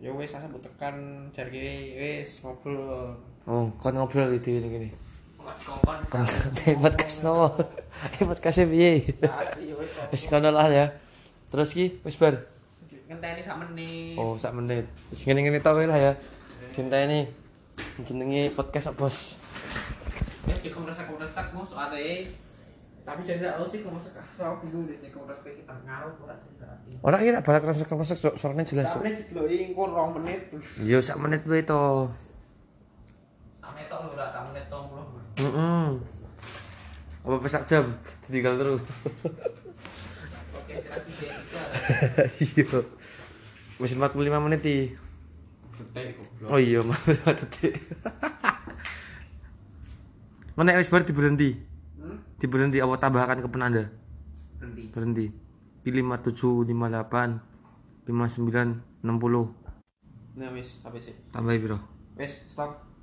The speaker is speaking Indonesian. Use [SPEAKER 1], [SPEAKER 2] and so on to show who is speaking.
[SPEAKER 1] ya wes asa mbok tekan jarke wes ngobrol
[SPEAKER 2] Oh, kon ngobrol di dhewe ngene.
[SPEAKER 1] kokon
[SPEAKER 2] Konten podcast nopo? Eh podcast piye?
[SPEAKER 1] ya wes
[SPEAKER 2] Wis kono lah ya. Terus ki wis bar.
[SPEAKER 1] ngenteni sak menit
[SPEAKER 2] Oh, sak menit. Wis ngene-ngene tau lah ya. Cinta ini jenenge podcast apa, Bos?
[SPEAKER 1] wes dikumesak kumesak mu soalnya tapi saya tidak tahu sih kumesak soal bingung deh sih kumesak kita ngaruh kurang tidak
[SPEAKER 2] Ora kira balak resek-resek Cuk. suaranya jelas. Cuk.
[SPEAKER 1] tapi dikeloi engko rong menit
[SPEAKER 2] Yo sak menit wae to.
[SPEAKER 1] sampe tok lho ora sak menit tong puluh
[SPEAKER 2] Heeh. Apa pesak jam ditinggal terus.
[SPEAKER 1] oke sira tiga tiga
[SPEAKER 2] Iya. Wis 45 menit iki.
[SPEAKER 1] detik goblok
[SPEAKER 2] Oh iya, mau detik. Menek wis bar diberhenti.
[SPEAKER 1] hmm
[SPEAKER 2] Diberhenti apa tambahkan ke penanda?
[SPEAKER 1] berhenti
[SPEAKER 2] Berhenti. Di 57, 58, 59, 60.
[SPEAKER 1] nah wes sampai sih
[SPEAKER 2] Tambahi piro?
[SPEAKER 1] wes stop